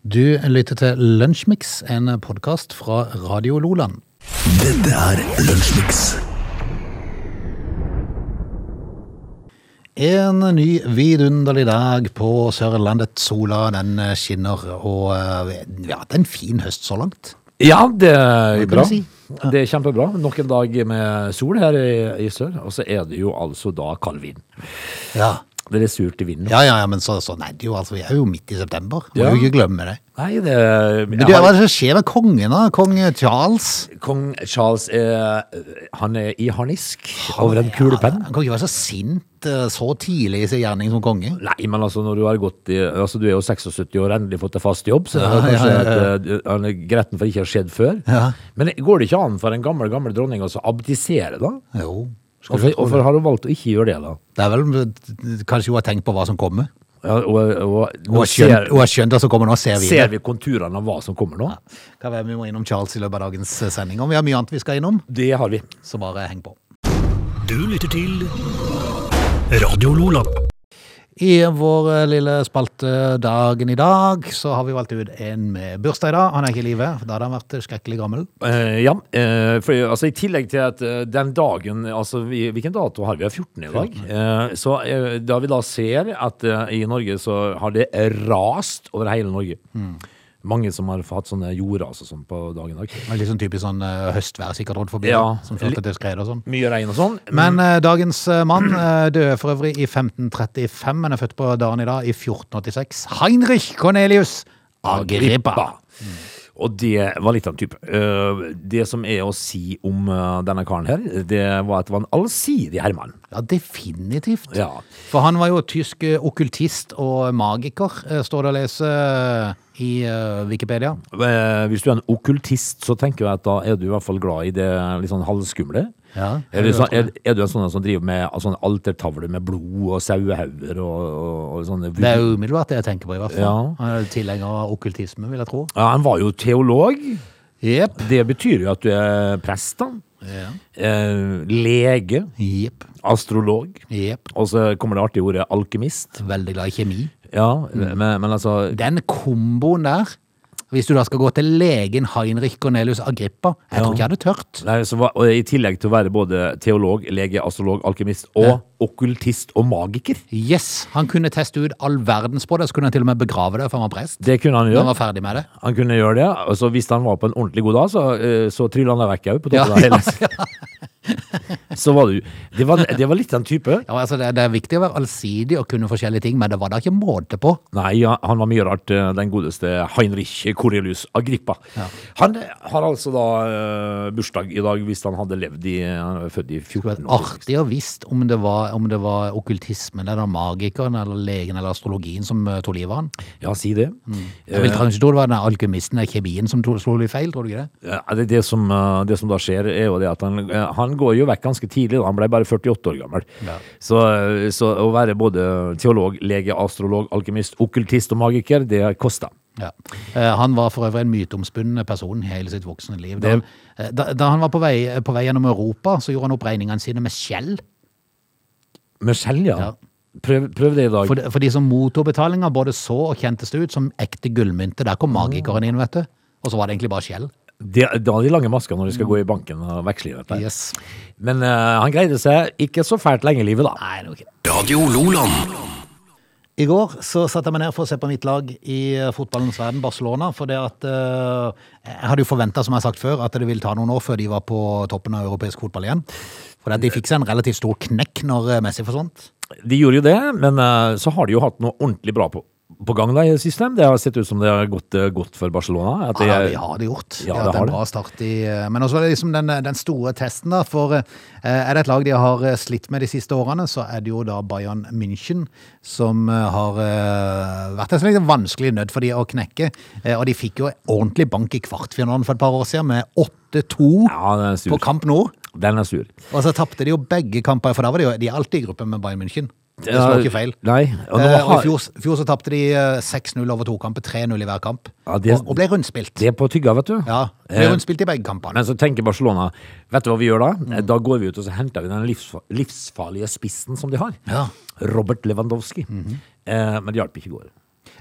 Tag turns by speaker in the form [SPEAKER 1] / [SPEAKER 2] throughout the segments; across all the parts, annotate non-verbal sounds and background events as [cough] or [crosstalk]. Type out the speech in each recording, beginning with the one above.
[SPEAKER 1] Du lytter til Lunsjmix, en podkast fra Radio Loland.
[SPEAKER 2] Dette er Lunsjmix.
[SPEAKER 1] En ny vidunderlig dag på Sørlandet. Sola den skinner, og eh, ja, det er en fin høst så langt.
[SPEAKER 3] Ja, det er
[SPEAKER 1] kan
[SPEAKER 3] bra.
[SPEAKER 1] du si?
[SPEAKER 3] Det er kjempebra. Nok en dag med sol her i, i sør, og så er det jo altså da kald vind.
[SPEAKER 1] Ja,
[SPEAKER 3] Det er litt surt i vinden.
[SPEAKER 1] ja, ja, ja men så, sånn er det jo. altså, Vi er jo midt i september. Må
[SPEAKER 3] Ja.
[SPEAKER 1] jo ikke glemme det.
[SPEAKER 3] Nei, det jeg
[SPEAKER 1] Men du,
[SPEAKER 3] har-
[SPEAKER 1] Hva er det som skjer med kongen, da? Kong Charles?
[SPEAKER 3] Kong Charles er, han er i harnisk over en kulepenn.
[SPEAKER 1] Ja, han kan ikke være så sint eh, så tidlig i sin gjerning som konge.
[SPEAKER 3] Nei, men altså når du har gått i Altså du er jo 76 år og endelig fått deg fast jobb, så det er
[SPEAKER 1] Ja,
[SPEAKER 3] kanskje
[SPEAKER 1] ja, ja, ja.
[SPEAKER 3] at, eh, han er gretten for ikke å ha skjedd før.
[SPEAKER 1] Ja.
[SPEAKER 3] Men går det ikke an for en gammel, gammel dronning å så abdisere, da?
[SPEAKER 1] Jo,
[SPEAKER 3] Hvorfor, hvorfor har hun valgt å ikke gjøre det, da?
[SPEAKER 1] Det er vel eh, Kanskje hun har tenkt på hva som kommer?
[SPEAKER 3] Ja, og, og,
[SPEAKER 1] Hun
[SPEAKER 3] nå
[SPEAKER 1] har skjønt, hun har skjønt det som kommer nå, ser vi det.
[SPEAKER 3] Ser vi konturene av hva som kommer nå?
[SPEAKER 1] Kan være vi må innom Charles i løpet av dagens eh, sending. Om vi har mye annet vi skal innom,
[SPEAKER 3] Det har vi.
[SPEAKER 1] så bare heng på.
[SPEAKER 2] Du lytter til Radio Lola.
[SPEAKER 1] I vår eh, lille spalte Dagen i dag, så har vi valgt ut en med bursdag i dag. Han er ikke i live, for da hadde han vært skrekkelig gammel.
[SPEAKER 3] Eh, ja, eh, for altså, I tillegg til at eh, den dagen altså, vi, Hvilken dato har vi? Vi har 14 i dag. Eh, så eh, da vi da ser at eh, i Norge så har det rast over hele Norge. Mange som har hatt sånne jordras og sånn på dagen i dag.
[SPEAKER 1] Det er Litt sånn typisk sånn eh, høstvær sikkert råd forbi,
[SPEAKER 3] Ja.
[SPEAKER 1] som førte til skred og sånn.
[SPEAKER 3] Mye regn og sånn.
[SPEAKER 1] Men eh, dagens eh, mann eh, døde for øvrig i 1535, men er født på dagen i dag i 1486. Heinrich Cornelius Agrippa.
[SPEAKER 3] Mm. Og det var litt av en type. Eh, det som er å si om eh, denne karen her, det var at det var en allsidig herremann.
[SPEAKER 1] Ja, definitivt.
[SPEAKER 3] Ja.
[SPEAKER 1] For han var jo tysk eh, okkultist og magiker, eh, står det å lese eh, i eh, Wikipedia.
[SPEAKER 3] Eh, Hvis du er en okkultist, så tenker jeg at da er du i hvert fall glad i det litt sånn halvskumle.
[SPEAKER 1] Ja,
[SPEAKER 3] er, du
[SPEAKER 1] det
[SPEAKER 3] sånn,
[SPEAKER 1] tror
[SPEAKER 3] er, er du en sånn en som driver med sånn altertavle med blod og sauehauger og, og, og sånne
[SPEAKER 1] Det er jo umiddelbart det jeg tenker på, i hvert fall.
[SPEAKER 3] Ja.
[SPEAKER 1] Han er tilhenger av okkultisme, vil jeg tro.
[SPEAKER 3] ja, Han var jo teolog.
[SPEAKER 1] Jepp.
[SPEAKER 3] Det betyr jo at du er prest, da. Eh, lege.
[SPEAKER 1] Jepp.
[SPEAKER 3] Astrolog.
[SPEAKER 1] Jepp.
[SPEAKER 3] Og så kommer det artige ordet alkymist.
[SPEAKER 1] Veldig glad i kjemi.
[SPEAKER 3] Ja,
[SPEAKER 1] Mm.
[SPEAKER 3] men, men altså
[SPEAKER 1] Den komboen der, hvis du da skal gå til legen Heinrich Cornelius Agrippa Jeg tror
[SPEAKER 3] Ja.
[SPEAKER 1] ikke jeg hadde tørt.
[SPEAKER 3] Nei, så var, og I tillegg til å være både teolog, lege, astrolog, alkymist og okkultist og magiker.
[SPEAKER 1] Yes, Han kunne teste ut all verdens på det, så kunne han til og med begrave det, for han var prest.
[SPEAKER 3] Det kunne han
[SPEAKER 1] Når
[SPEAKER 3] gjøre.
[SPEAKER 1] han var ferdig med det.
[SPEAKER 3] Han kunne gjøre det, og så hvis han var på en ordentlig god dag, så, eh, så trylla han deg vekk òg. på
[SPEAKER 1] Ja,
[SPEAKER 3] toppen av hele- [laughs] Så var du det var, det var litt den type.
[SPEAKER 1] Ja, altså det, det er viktig å være allsidig og kunne forskjellige ting, men det var da ikke måte på.
[SPEAKER 3] Nei, ja, han var mye rart, eh, den godeste Heinrich Corelius Agrippa. Han eh, har altså da eh, bursdag i dag, hvis han hadde levd i Han er født i
[SPEAKER 1] Det skulle
[SPEAKER 3] 14
[SPEAKER 1] vært
[SPEAKER 3] år.
[SPEAKER 1] artig å visst om det var, om det var okkultismen eller magikeren eller legen eller astrologien som eh, tok livet av han.
[SPEAKER 3] Ja, si det. Eh,
[SPEAKER 1] Jeg vil kanskje tro det var den alkymisten eller kjemien som tok- slo litt feil, tror du ikke det?
[SPEAKER 3] Eh, Det, det, som, eh, det som da skjer, er jo det at han, eh, han går jo vekk ganske tidlig. Da. Han ble bare 48 år gammel.
[SPEAKER 1] Ja.
[SPEAKER 3] Så, eh, så å være både teolog, lege, astrolog, alkymist, okkultist og magiker, det kosta.
[SPEAKER 1] Ja. Eh, Han var for øvrig en myteomspunnen person hele sitt voksne liv. Da,
[SPEAKER 3] Det-
[SPEAKER 1] han, eh, da, da han var på vei, eh, på vei gjennom Europa, så gjorde han opp regningene sine med skjell.
[SPEAKER 3] Med skjell, ja.
[SPEAKER 1] Ja.
[SPEAKER 3] Prøv, prøv det i dag.
[SPEAKER 1] For, de- for de som mottok betalinger, både så og kjentes det ut som ekte gullmynter. Der kom magikeren inn, vet du. Og så var det egentlig bare skjell.
[SPEAKER 3] Det- da har de lange masker når de
[SPEAKER 1] Mm.
[SPEAKER 3] skal gå i banken og veksle i dette.
[SPEAKER 1] Yes.
[SPEAKER 3] Men eh, han greide seg ikke så fælt lenge i livet, da.
[SPEAKER 1] Nei, det var ikke
[SPEAKER 2] Radio Loland.
[SPEAKER 1] I går så satte jeg meg ned for å se på mitt lag i eh, fotballens verden, Barcelona. For det at eh, Jeg hadde jo forventa, som jeg har sagt før, at det ville ta noen år før de var på toppen av europeisk fotball igjen. For at de fikk seg en relativt stor knekk når eh, Messi forsvant.
[SPEAKER 3] De gjorde jo det, men eh, så har de jo hatt noe ordentlig bra på, på gang da i det siste. Det har sett ut som det har gått eh, godt for Barcelona. At det,
[SPEAKER 1] Ja, de har det gjort.
[SPEAKER 3] Ja,
[SPEAKER 1] de har
[SPEAKER 3] det
[SPEAKER 1] hatt
[SPEAKER 3] har
[SPEAKER 1] en
[SPEAKER 3] det.
[SPEAKER 1] bra start i eh, Men også er det liksom den, den store testen, da. For eh, er det et lag de har eh, slitt med de siste årene, så er det jo da Bayern München som eh, har eh, vært en slags vanskelig nødt for de å knekke. Eh, Og de fikk jo ordentlig bank i kvartfinalen for et par år siden med 8-2
[SPEAKER 3] ja, den er sur.
[SPEAKER 1] på Kamp Nord.
[SPEAKER 3] Den er sur.
[SPEAKER 1] Og så tapte de jo begge kamper, for da var de jo de er alltid i gruppe med Bayern München. Det slår ikke feil.
[SPEAKER 3] Nei. Og nå
[SPEAKER 1] Eh, og I
[SPEAKER 3] har,
[SPEAKER 1] fjor, fjor så tapte de eh, 6-0 over to kamper, 3-0 i hver kamp,
[SPEAKER 3] Ja, det-
[SPEAKER 1] og, og ble rundspilt.
[SPEAKER 3] det er på tygga, vet du.
[SPEAKER 1] Ja, ble
[SPEAKER 3] Eh,
[SPEAKER 1] rundspilt i begge kampene.
[SPEAKER 3] men så tenker Barcelona Vet du hva vi gjør da?
[SPEAKER 1] Mm.
[SPEAKER 3] Eh, Da går vi ut og så henter vi den livs, livsfarlige spissen som de har.
[SPEAKER 1] Ja. Mhm.
[SPEAKER 3] Robert Lewandowski. eh, men det hjalp ikke i går.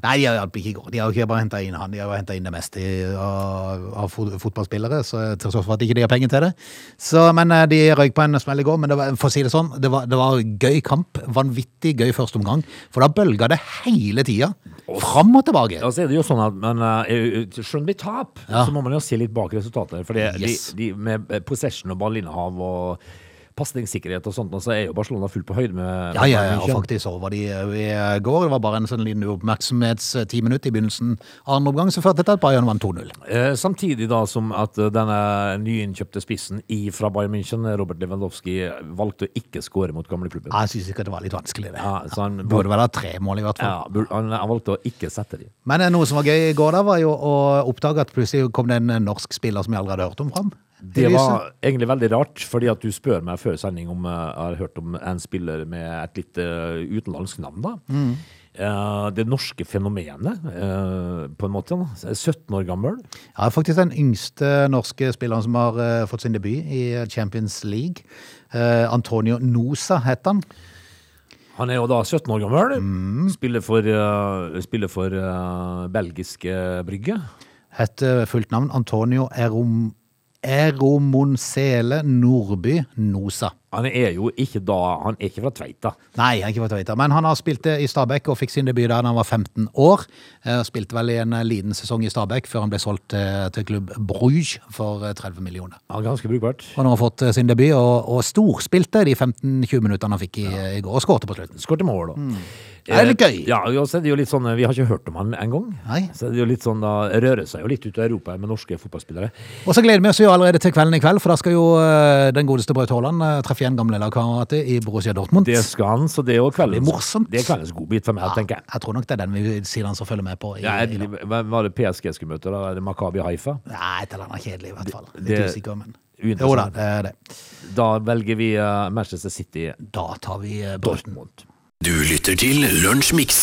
[SPEAKER 1] Nei, de har hjulpet ikke i går. De har jo ikke bare henta inn han, de har jo henta inn det meste i- av, av fot- fotballspillere, så til tross for at ikke de har penger til det. Så, men eh, de røyk på en smell i går, men det var, for å si det sånn, det var, det var gøy kamp. Vanvittig gøy første omgang, for da bølga det hele tida. Fram og tilbake.
[SPEAKER 3] Ja, så er det jo sånn at men, eh, Skjønner vi tap,
[SPEAKER 1] Ja.
[SPEAKER 3] så må man jo se litt bak resultatene. For det-
[SPEAKER 1] Yes.
[SPEAKER 3] de, de, med eh, possession og ballinnehav og pasningssikkerhet og sånt, og så er jo Barcelona fullt på høyde med
[SPEAKER 1] Ja, ja, ja,
[SPEAKER 3] med
[SPEAKER 1] og faktisk så var de eh, i går. Det var bare en sånn liten uoppmerksomhets-ti minutt i begynnelsen av andre omgang, som førte til at Bayern vant 2-0.
[SPEAKER 3] Eh, Samtidig da som at eh, denne nyinnkjøpte spissen i fra Bayern München, eh, Robert Lewandowski, valgte å ikke skåre mot gamleklubben.
[SPEAKER 1] Ja, altså, Jeg syns ikke det var litt vanskelig, det.
[SPEAKER 3] Ja, så han,
[SPEAKER 1] Burde vel ha tre mål, i hvert fall.
[SPEAKER 3] ja, bur- han, han valgte å ikke sette dem.
[SPEAKER 1] Men eh, noe som var gøy i går, da, var jo å oppdage at plutselig kom det en eh, norsk spiller som jeg aldri hadde hørt om, fram.
[SPEAKER 3] Det liksom- var egentlig veldig rart, fordi at du spør meg før sending om eh, jeg har hørt om en spiller med et litt eh, utenlandsk navn. da. Eh, det norske fenomenet, eh, på en måte. da. 17 år gammel.
[SPEAKER 1] Ja, faktisk den yngste norske spilleren som har eh, fått sin debut i Champions League. Eh, Antonio Nosa het han.
[SPEAKER 3] Han er jo da 17 år gammel. Spiller for, eh, spiller for eh, belgiske Brygge.
[SPEAKER 1] Het eh, fullt navn Antonio Erom... Eromonsele Nordby Nosa.
[SPEAKER 3] Han er jo ikke da Han er ikke fra Tveita.
[SPEAKER 1] Nei, jeg har ikke fått vite. Men han har spilt det i Stabæk og fikk sin debut der da han var 15 år. Eh, Spilte vel i en eh, liten sesong i Stabæk før han ble solgt eh, til klubb Bruges for eh, 30 millioner.
[SPEAKER 3] Han er ganske brukbart.
[SPEAKER 1] Han har fått eh, sin debut, og, og storspilte de 15-20 minuttene han fikk i, eh, i går, og skårte på slutten.
[SPEAKER 3] Skåret mål, da.
[SPEAKER 1] Det Mm. er litt gøy.
[SPEAKER 3] Eh, Ja, og så er det jo litt sånn, eh, Vi har ikke hørt om han engang.
[SPEAKER 1] Nei.
[SPEAKER 3] Så det er jo litt sånn, da rører seg jo litt ut av Europa med norske fotballspillere.
[SPEAKER 1] Og så gleder vi oss jo allerede til kvelden i kveld, for da skal jo eh, den godeste Braut Haaland eh, treffe igjen gamle lagkamerat i Borussia Dortmund.
[SPEAKER 3] Det skal han, så det er jo kveldens,
[SPEAKER 1] blir morsomt.
[SPEAKER 3] Det er kveldens godbit for meg, tenker jeg.
[SPEAKER 1] Jeg tror nok det er den vi sier han som følger med på. I,
[SPEAKER 3] Ja,
[SPEAKER 1] i,
[SPEAKER 3] jeg- Hvem var det PSG skulle møte? da? Er det Makabi Haifa?
[SPEAKER 1] nei, et eller annet kjedelig i hvert fall. Litt
[SPEAKER 3] det-
[SPEAKER 1] usikker, men...
[SPEAKER 3] uinteressant.
[SPEAKER 1] Jo da, det er det.
[SPEAKER 3] Da velger vi eh, Manchester City.
[SPEAKER 1] Da tar vi eh, Brauten.
[SPEAKER 2] Du lytter til Lunsjmix.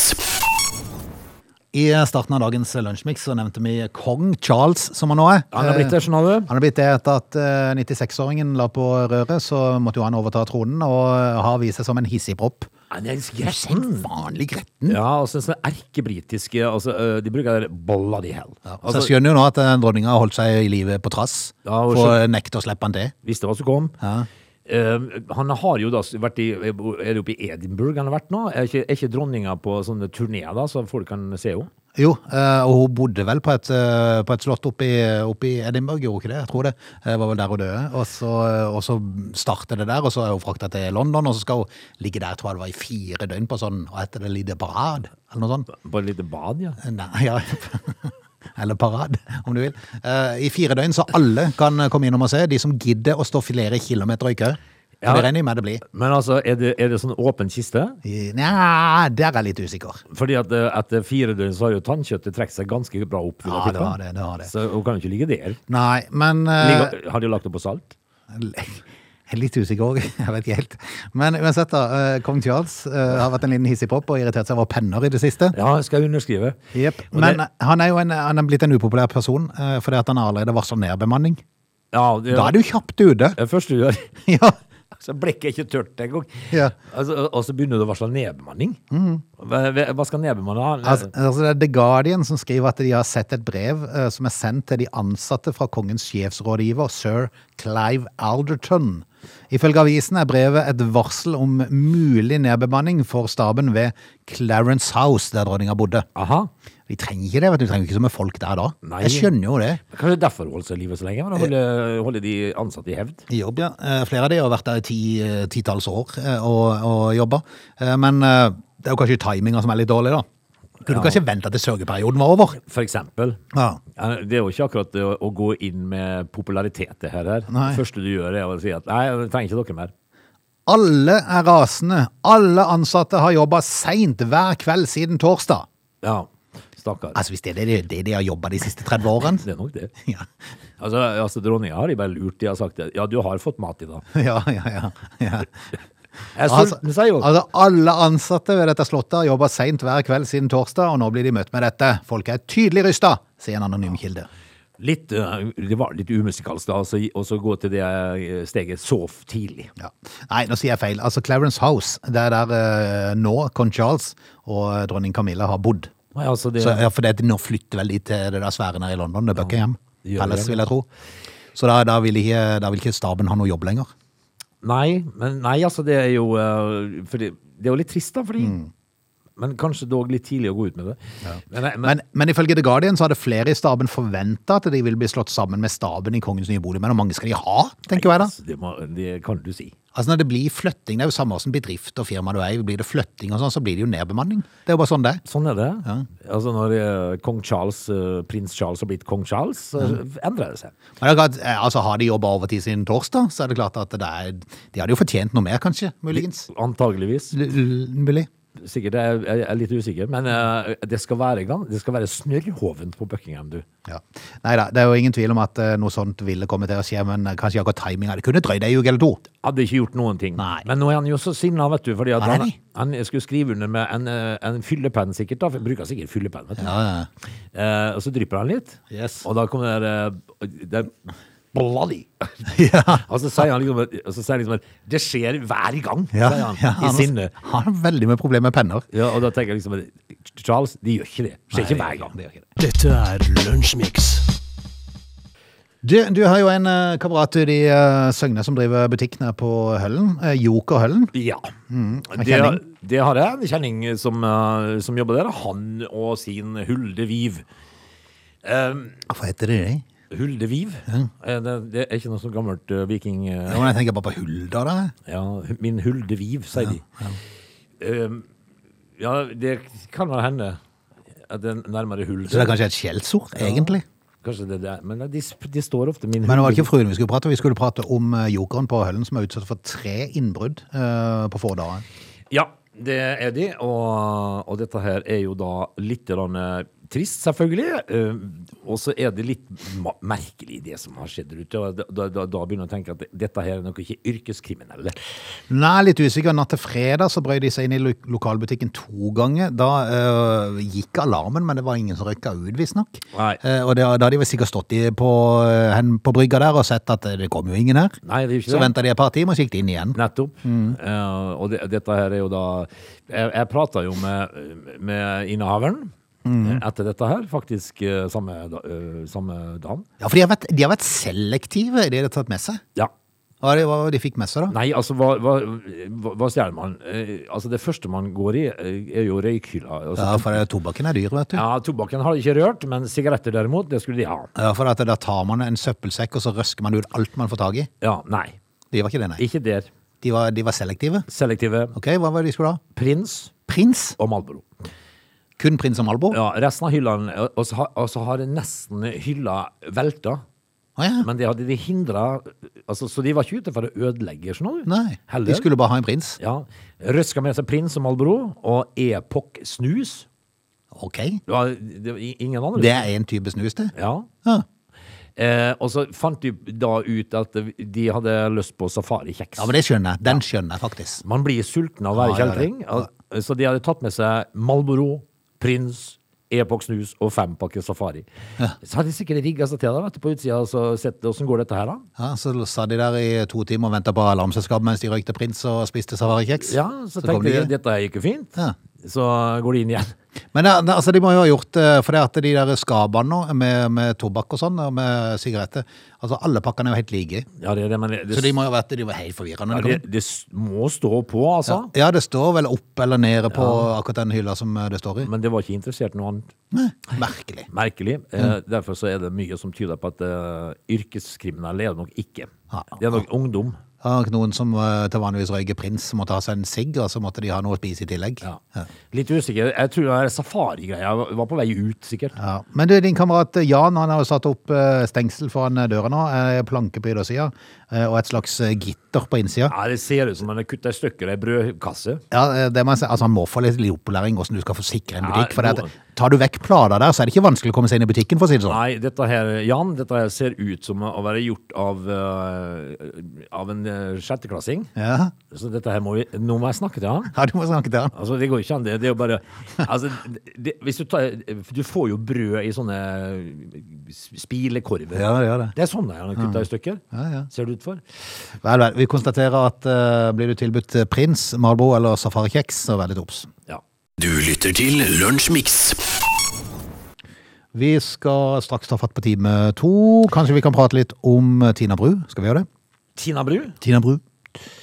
[SPEAKER 1] I starten av dagens lunsjmix så nevnte vi Kong Charles, som han nå er.
[SPEAKER 3] Han har blitt det, skjønner du.
[SPEAKER 1] Han er blitt det etter at eh, 96-åringen la på røret, så måtte jo han overta tronen og eh, har vist seg som en hissigpropp.
[SPEAKER 3] Han er
[SPEAKER 1] Helt vanlig gretten.
[SPEAKER 3] Ja, altså sånn erkebritiske altså, eh, De bruker det der bloody hell.
[SPEAKER 1] så jeg
[SPEAKER 3] Altså,
[SPEAKER 1] skjønner jo nå at eh, dronninga har holdt seg i livet på trass,
[SPEAKER 3] Ja, og
[SPEAKER 1] for å nekte å slippe han til.
[SPEAKER 3] visste hva som kom.
[SPEAKER 1] Ja.
[SPEAKER 3] Eh, han har jo da vært i Er det oppe i Edinburgh han har vært nå? Er ikke, er ikke dronninga på sånne turné, da, så folk kan se henne?
[SPEAKER 1] Jo, eh, og hun bodde vel på et, eh, på et slott oppe i, oppe i Edinburgh, gjorde hun ikke det? Jeg tror det. Eh, var vel der hun døde. Og så, og så startet det der, og så er hun frakta til London, og så skal hun ligge der, tror jeg det var i fire døgn på sånn, hva heter det, lite parad, eller noe sånt.
[SPEAKER 3] På et lite bad, ja.
[SPEAKER 1] Nei, ja. Eller parad, om du vil. Eh, I fire døgn, så alle kan komme innom og se. De som gidder å stå flere kilometer i kø.
[SPEAKER 3] Ja.
[SPEAKER 1] Det regner jeg med det blir.
[SPEAKER 3] Men altså, er det, er det sånn åpen kiste?
[SPEAKER 1] I- Nja, der er jeg litt usikker.
[SPEAKER 3] Fordi at eh, etter fire døgn så har jo tannkjøttet trukket seg ganske bra opp. vil
[SPEAKER 1] Ja,
[SPEAKER 3] jeg tippe.
[SPEAKER 1] det har det, det har det.
[SPEAKER 3] Så hun kan jo ikke ligge der.
[SPEAKER 1] Nei, men eh,
[SPEAKER 3] Ligger, har de lagt det på salt?
[SPEAKER 1] [laughs] Jeg er Litt usikker òg, [laughs] jeg vet ikke helt. Men uansett, da. eh, Kong Charles eh, har vært en liten hissigpropp og irritert seg over penner i det siste.
[SPEAKER 3] Ja, skal jeg underskrive.
[SPEAKER 1] Jep.
[SPEAKER 3] Og
[SPEAKER 1] Men eh,
[SPEAKER 3] det-
[SPEAKER 1] han er jo en, han er blitt en upopulær person eh, fordi at han har allerede varsla nedbemanning.
[SPEAKER 3] Ja, det,
[SPEAKER 1] Da er du kjapt ute!
[SPEAKER 3] det første du gjør. [laughs]
[SPEAKER 1] [laughs] ja.
[SPEAKER 3] Så blekket er ikke tørt engang.
[SPEAKER 1] Ja. Mm.
[SPEAKER 3] Altså, og så begynner du å varsle nedbemanning. Hva, hva skal nedbemanne ha?
[SPEAKER 1] Altså, altså det er The Guardian som skriver at de har sett et brev eh, som er sendt til de ansatte fra kongens sjefsrådgiver, sir Clive Alderton. Ifølge avisen er brevet et varsel om mulig nedbemanning for staben ved Clarence House, der dronninga bodde.
[SPEAKER 3] Aha.
[SPEAKER 1] Vi trenger ikke det, vet du. Vi trenger ikke så mye folk der da.
[SPEAKER 3] Nei.
[SPEAKER 1] Jeg skjønner jo det.
[SPEAKER 3] Kanskje derfor holde seg i livet så lenge? men Holde,
[SPEAKER 1] Eh.
[SPEAKER 3] holde de ansatte i hevd?
[SPEAKER 1] I jobb, ja. Eh, Flere av de har vært der i ti, eh, titalls år eh, og, og jobba. Eh, Men eh, det er jo kanskje timinga som er litt dårlig, da. Kunne
[SPEAKER 3] Ja.
[SPEAKER 1] kanskje vente til sørgeperioden var over.
[SPEAKER 3] For eksempel.
[SPEAKER 1] Ja.
[SPEAKER 3] Ja, Det er jo ikke akkurat å, å gå inn med popularitet, det her. her.
[SPEAKER 1] Nei.
[SPEAKER 3] Det første du gjør, er å si at nei, jeg trenger ikke dere mer.
[SPEAKER 1] Alle er rasende. Alle ansatte har jobba seint hver kveld siden torsdag.
[SPEAKER 3] Ja, stakkar.
[SPEAKER 1] Altså, hvis det er det, det de har jobba de siste 30 årene [laughs]
[SPEAKER 3] Det er nok det.
[SPEAKER 1] ja.
[SPEAKER 3] Altså, altså Dronninga har de bare lurt. De har sagt det. Ja, du har fått mat i dag.
[SPEAKER 1] ja, ja, ja. ja.
[SPEAKER 3] Jeg er
[SPEAKER 1] Altså,
[SPEAKER 3] sulten, sier hun.
[SPEAKER 1] altså, alle ansatte ved dette slottet har jobba seint hver kveld siden torsdag, og nå blir de møtt med dette. Folk er tydelig rysta, sier en anonym kilde.
[SPEAKER 3] Litt, eh, det var litt umusikalsk da, altså, og så gå til det eh, steget så f- tidlig.
[SPEAKER 1] Ja. Nei, nå sier jeg feil. Altså, Clarence House, det er der eh, nå kong Charles og dronning eh, Camilla har bodd.
[SPEAKER 3] Nei, altså det,
[SPEAKER 1] Så, ja, for det, nå flytter vel de til det der svære nede i London, det er Buckingham
[SPEAKER 3] de gjør
[SPEAKER 1] Palace,
[SPEAKER 3] det.
[SPEAKER 1] vil jeg tro. Så da, da, vil ikke, da vil ikke staben ha noe jobb lenger.
[SPEAKER 3] nei, men, nei, altså det er jo eh, fordi, Det er jo litt trist, da, fordi
[SPEAKER 1] Mm.
[SPEAKER 3] Men kanskje dog litt tidlig å gå ut med det. Men, men,
[SPEAKER 1] Men, men ifølge The Guardian så hadde flere i staben forventa at de ville bli slått sammen med staben i Kongens nye bolig, men hvor mange skal de ha, tenker jeg da?
[SPEAKER 3] altså, det, må, det kan du si.
[SPEAKER 1] Altså Når det blir flytting, det er jo samme som bedrift og firma du er i, blir det flytting og sånn, så blir det jo nedbemanning. Det er jo bare sånn det er.
[SPEAKER 3] Sånn er det. Altså Når eh, kong Charles, eh, prins Charles har blitt kong Charles, så endrer det seg.
[SPEAKER 1] Men det er klart, eh, altså Har de jobba overtid siden torsdag, så er det klart at det er, de hadde jo fortjent noe mer, kanskje. Muligens.
[SPEAKER 3] Antageligvis.
[SPEAKER 1] L- l- Mulig.
[SPEAKER 3] Sikkert. Jeg jeg er litt usikker. Men eh, det skal være, gan- det skal være snørrhovent på Buckingham, du.
[SPEAKER 1] Ja. Nei da, det er jo ingen tvil om at eh, noe sånt ville komme til å skje, men eh, kanskje akkurat timinga Det kunne drøyd ei uke eller to.
[SPEAKER 3] Hadde ikke gjort noen ting.
[SPEAKER 1] Nei.
[SPEAKER 3] Men nå er han jo så sinna, vet du. Fordi at
[SPEAKER 1] Han er
[SPEAKER 3] han, han skulle skrive under med en, eh, en fyllepenn, sikkert. da for han Bruker sikkert fyllepenn, vet du.
[SPEAKER 1] Ja, ja.
[SPEAKER 3] Eh, og så drypper han litt.
[SPEAKER 1] Yes.
[SPEAKER 3] Og da kommer det, eh, det Bloody!
[SPEAKER 1] [laughs] ja.
[SPEAKER 3] Og så sier han liksom, og så sier han liksom at det skjer hver gang,
[SPEAKER 1] Ja,
[SPEAKER 3] sier han
[SPEAKER 1] ja,
[SPEAKER 3] i sinne.
[SPEAKER 1] har- Han har veldig mye problemer med penner.
[SPEAKER 3] Ja, og da tenker jeg liksom at Charles, de gjør ikke det. Skjer ikke hver gang.
[SPEAKER 2] Dette er Lunsjmix.
[SPEAKER 1] Du, du har jo en eh, kamerat i de eh, Søgne som driver butikk nede på Høllen. eh, Joker Høllen.
[SPEAKER 3] Ja. Det,
[SPEAKER 1] kjenning?
[SPEAKER 3] det har jeg. En kjenning som, eh, som jobber der. Han og sin Hulde Viv. Um,
[SPEAKER 1] Hvorfor heter det det?
[SPEAKER 3] Hulde Viv? Eh, Det, det er ikke noe sånn gammelt eh, viking... eh,
[SPEAKER 1] Ja, men jeg tenker bare på Hulda, da.
[SPEAKER 3] Ja, min Hulde Viv, sier de. Um, ja, det kan vel hende at det er nærmere Hulde.
[SPEAKER 1] Så det er kanskje et skjellsord, egentlig.
[SPEAKER 3] Kanskje det der. Men de, de står ofte
[SPEAKER 1] Men
[SPEAKER 3] min
[SPEAKER 1] det var
[SPEAKER 3] Hulde
[SPEAKER 1] ikke fruen vi skulle prate om. Vi skulle prate om eh, jokeren på Høllen som er utsatt for tre innbrudd eh, på få dager.
[SPEAKER 3] Ja, det er de. Og, og dette her er jo da litt grann, eh, trist, selvfølgelig. eh, Og så er det litt ma- merkelig, det som har skjedd der ute. og Da, da, da begynner jeg å tenke at dette her er nok ikke yrkeskriminelle.
[SPEAKER 1] Nå er jeg litt usikker. Natt til fredag så brøy de seg inn i lo lokalbutikken to ganger. Da eh, gikk alarmen, men det var ingen som røyka ut, visstnok.
[SPEAKER 3] Nei.
[SPEAKER 1] Eh, og det, da hadde de vel sikkert stått i, på, eh, hen på brygga der og sett at eh, det kom jo ingen her.
[SPEAKER 3] Nei, det er jo ikke
[SPEAKER 1] Så
[SPEAKER 3] det.
[SPEAKER 1] venta de et par timer, og så gikk de inn igjen.
[SPEAKER 3] Nettopp. Eh, og det, dette her er jo da Jeg, jeg prata jo med, med innehaveren eh, etter dette her, faktisk eh, samme, da- eh, samme dagen.
[SPEAKER 1] Ja, For de har vært, de har vært selektive, i det de har tatt med seg.
[SPEAKER 3] Ja.
[SPEAKER 1] Hva var det- hva var det de fikk med seg, da?
[SPEAKER 3] Nei, altså, hva, hva, hva- hva stjeler man? Eh, altså, det første man går i, eh, er jo røykhylla. Altså,
[SPEAKER 1] Ja, For det- tobakken er dyr, vet du.
[SPEAKER 3] Ja, tobakken har de ikke rørt, men sigaretter derimot, det skulle de ha.
[SPEAKER 1] Ja, for at da tar man en søppelsekk, og så røsker man ut alt man får tag i.
[SPEAKER 3] Ja, nei.
[SPEAKER 1] De var ikke det, nei.
[SPEAKER 3] Ikke der.
[SPEAKER 1] De var, de var selektive.
[SPEAKER 3] Selektive
[SPEAKER 1] Ok, hva var det de skulle ha?
[SPEAKER 3] prins
[SPEAKER 1] Prins?
[SPEAKER 3] og Malboro.
[SPEAKER 1] Kun prins og Malbo?
[SPEAKER 3] Ja, resten av hyllene, eh, og så har- og så har nesten hylla velta.
[SPEAKER 1] Å ja.
[SPEAKER 3] Men det hadde de hindra altså, Så de var ikke ute for å ødelegge, skjønner du?
[SPEAKER 1] Nei,
[SPEAKER 3] Heller.
[SPEAKER 1] de skulle bare ha en prins.
[SPEAKER 3] Ja. Røska med seg prins og Malboro og Epoch snus.
[SPEAKER 1] Ok,
[SPEAKER 3] Det var, det var i- ingen andre.
[SPEAKER 1] det er en type snus det.
[SPEAKER 3] Ja.
[SPEAKER 1] Ja.
[SPEAKER 3] Eh, og så fant de da ut at de hadde lyst på safarikjeks.
[SPEAKER 1] ja, men det skjønner jeg. Den skjønner jeg faktisk.
[SPEAKER 3] Man blir sulten av å være
[SPEAKER 1] Ja, ja,
[SPEAKER 3] kjeltring. al- Så de hadde tatt med seg Malboro, Prins, Epoch Snus og fem pakker Safari. Så hadde de sikkert rigga seg til det vet du, på utsida og så sett åssen går dette her, da.
[SPEAKER 1] Ja, så satt de der i to timer og ventet på alarmselskapet mens de røykte prins og spiste savarikjeks.
[SPEAKER 3] Ja, så,
[SPEAKER 1] kom
[SPEAKER 3] tenkte de
[SPEAKER 1] ikke.
[SPEAKER 3] dette her gikk jo fint.
[SPEAKER 1] Ja.
[SPEAKER 3] Så går de inn igjen.
[SPEAKER 1] Men det, det, altså, de må jo ha gjort, eh, for det at de der skabene nå, med, med tobakk og sånn, og med sigaretter, altså alle pakkene er jo helt like.
[SPEAKER 3] Ja, det, er det, men det,
[SPEAKER 1] Så de
[SPEAKER 3] det,
[SPEAKER 1] må jo ha vært, de var helt forvirrende. når de kom
[SPEAKER 3] det,
[SPEAKER 1] inn.
[SPEAKER 3] det s- må stå på, altså.
[SPEAKER 1] Ja, det står vel opp eller nede på akkurat den hylla som eh, det står i.
[SPEAKER 3] Men det var ikke interessert i noe annet.
[SPEAKER 1] Nei, merkelig.
[SPEAKER 3] Merkelig. Eh, derfor så er det mye som tyder på at eh, yrkeskriminelle er det nok ikke.
[SPEAKER 1] Ja.
[SPEAKER 3] Det er nok ungdom.
[SPEAKER 1] Det var nok noen som eh, til vanligvis røyker prins, som måtte ha seg en sigg, og så måtte de ha noe å spise i tillegg.
[SPEAKER 3] Ja. Litt usikker. Jeg tror den der safarigreia var på vei ut, sikkert.
[SPEAKER 1] Ja. Men du, din kamerat eh, Jan, han har jo satt opp eh, stengsel foran eh, døra nå, eh, planke på yttersida, eh, og et slags eh, gitter på innsida.
[SPEAKER 3] Ja, det ser ut som han har kutta i stykker ei brødkasse.
[SPEAKER 1] Ja, eh, det må jeg si. Altså, han må få litt opplæring hvordan du skal forsikre en
[SPEAKER 3] Ja,
[SPEAKER 1] butikk, for det
[SPEAKER 3] noe.
[SPEAKER 1] at, tar du vekk plater der, så er det ikke vanskelig å komme seg inn i butikken, for å si det sånn.
[SPEAKER 3] Nei, dette her, Jan, dette her ser ut som å være gjort av, eh, av en eh, sjetteklassing.
[SPEAKER 1] Ja, [laughs]
[SPEAKER 3] Så dette her må vi Nå må jeg snakke til han.
[SPEAKER 1] ja du må snakke til han.
[SPEAKER 3] Altså, det går ikke an, det. Det er jo bare Altså, det, hvis du tar Du får jo brød i sånne eh, spilekorver.
[SPEAKER 1] Ja, det gjør det.
[SPEAKER 3] Det er sånne han har kutta i stykker.
[SPEAKER 1] Ja, ja.
[SPEAKER 3] Ser det ut for.
[SPEAKER 1] Vel, vel. Vi konstaterer at eh, blir du tilbudt eh, prins, Marlboro eller safarikjeks, så vær litt obs.
[SPEAKER 3] Ja.
[SPEAKER 2] Du lytter til Lunsjmix.
[SPEAKER 1] Vi skal straks ta fatt på time to. Kanskje vi kan prate litt om eh, Tina Bru? Skal vi gjøre det?
[SPEAKER 3] Tina Bru?
[SPEAKER 1] Tina Bru.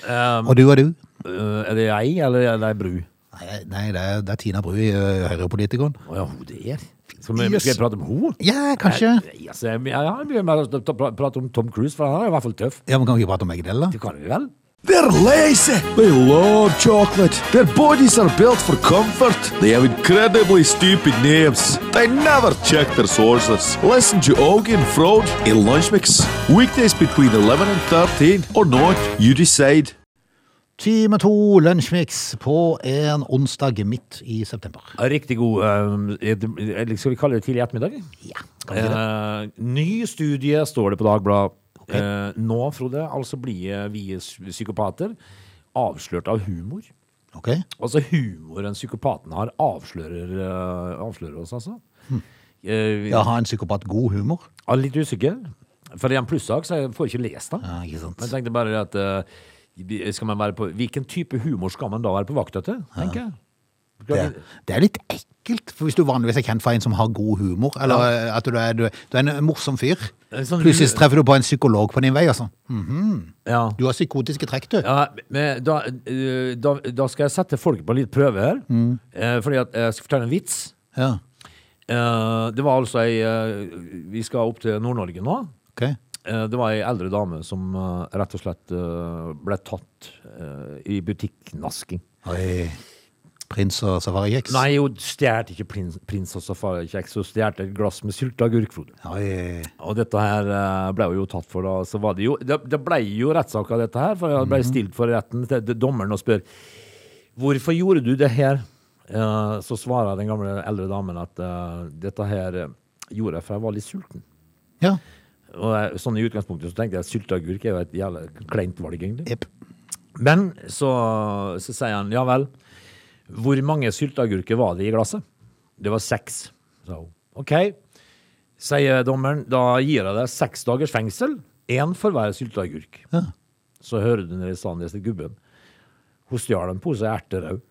[SPEAKER 3] Um,
[SPEAKER 1] Og du og du?
[SPEAKER 3] øh, er det jeg, eller er det ei bru?
[SPEAKER 1] Nei, nei det, er, det er Tina Bru, eh, Høyre-politikeren.
[SPEAKER 3] Å ja, hun det er. Skal vi,
[SPEAKER 1] Yes.
[SPEAKER 3] skal jeg prate om henne?
[SPEAKER 1] Ja, kanskje.
[SPEAKER 3] Nei, altså, jeg, jeg, jeg begynner med å ta- ta- prate om Tom Cruise, for han er i hvert fall tøff.
[SPEAKER 1] Ja, men Kan vi ikke prate om begge deler?
[SPEAKER 3] Det kan vi vel?
[SPEAKER 4] They're lazy. They love chocolate. Their bodies are built for comfort. They have incredibly stupid names. They never check their sources. Listen to Augie and Frode in Lunch Mix. Weekdays between 11 and 13 or not, you decide.
[SPEAKER 1] Time to lunsjmix på en onsdag midt i september.
[SPEAKER 3] Riktig god eh, er det- er det- Skal vi kalle det tidlig ettermiddag?
[SPEAKER 1] Ja,
[SPEAKER 3] Eh, ny studie står det på Dagbladet. Eh, nå, Frode, altså blir vi s- psykopater avslørt av humor.
[SPEAKER 1] Ok,
[SPEAKER 3] Altså humoren psykopaten har, avslører, eh, avslører oss, altså. Eh,
[SPEAKER 1] Hm. ja, Har en psykopat god humor?
[SPEAKER 3] jeg er litt usikker. For i en plussak så jeg får ikke lest den.
[SPEAKER 1] Ja, ikke
[SPEAKER 3] Men jeg
[SPEAKER 1] sant?
[SPEAKER 3] tenkte bare at eh, skal man være på, Hvilken type humor skal man da være på vakt etter, tenker jeg.
[SPEAKER 1] Det,
[SPEAKER 3] Skal vi-
[SPEAKER 1] det er litt ekkelt, for hvis du vanligvis er kjent for en som har god humor, eller eh, at du er, du, er- du er en morsom fyr,
[SPEAKER 3] En sånn-
[SPEAKER 1] plutselig så treffer Eh, du på en psykolog på din vei, altså.
[SPEAKER 3] Ja.
[SPEAKER 1] Du har psykotiske trekk, du.
[SPEAKER 3] Ja, men da, eh, da, da skal jeg sette folk på litt prøve her. Eh, Fordi at jeg skal fortelle en vits.
[SPEAKER 1] Ja,
[SPEAKER 3] Eh, Det var altså ei eh, Vi skal opp til Nord-Norge nå.
[SPEAKER 1] ok.
[SPEAKER 3] Eh, Det var ei eldre dame som eh, rett og slett eh, ble tatt eh, i butikknasking.
[SPEAKER 1] Oi. Prins og safarikjeks?
[SPEAKER 3] Nei, hun stjal ikke prins, prins og safarikjeks, hun stjal et glass med sylteagurk, Frode.
[SPEAKER 1] Oi.
[SPEAKER 3] Og dette her eh, ble hun jo tatt for, da. Så var det jo Det, det ble jo rettssak av dette her, for jeg ble stilt for retten til til dommeren og spør Hvorfor gjorde du det her? Eh, Så svarer den gamle eldre damen at eh, dette her eh, gjorde jeg for jeg var litt sulten.
[SPEAKER 1] Ja,
[SPEAKER 3] Og jeg, sånn i utgangspunktet så tenkte jeg at sylteagurk er jo et jævla kleint valg, egentlig.
[SPEAKER 1] jepp.
[SPEAKER 3] Men så, så sier han ja vel. Hvor mange sylteagurker var det i glasset? Det var seks, sa hun. OK, sier dommeren. Da gir jeg deg seks dagers fengsel. Én for hver sylteagurk.
[SPEAKER 1] Ja.
[SPEAKER 3] Så hører du når Sandnes til gubben. Hun stjal en pose erter òg.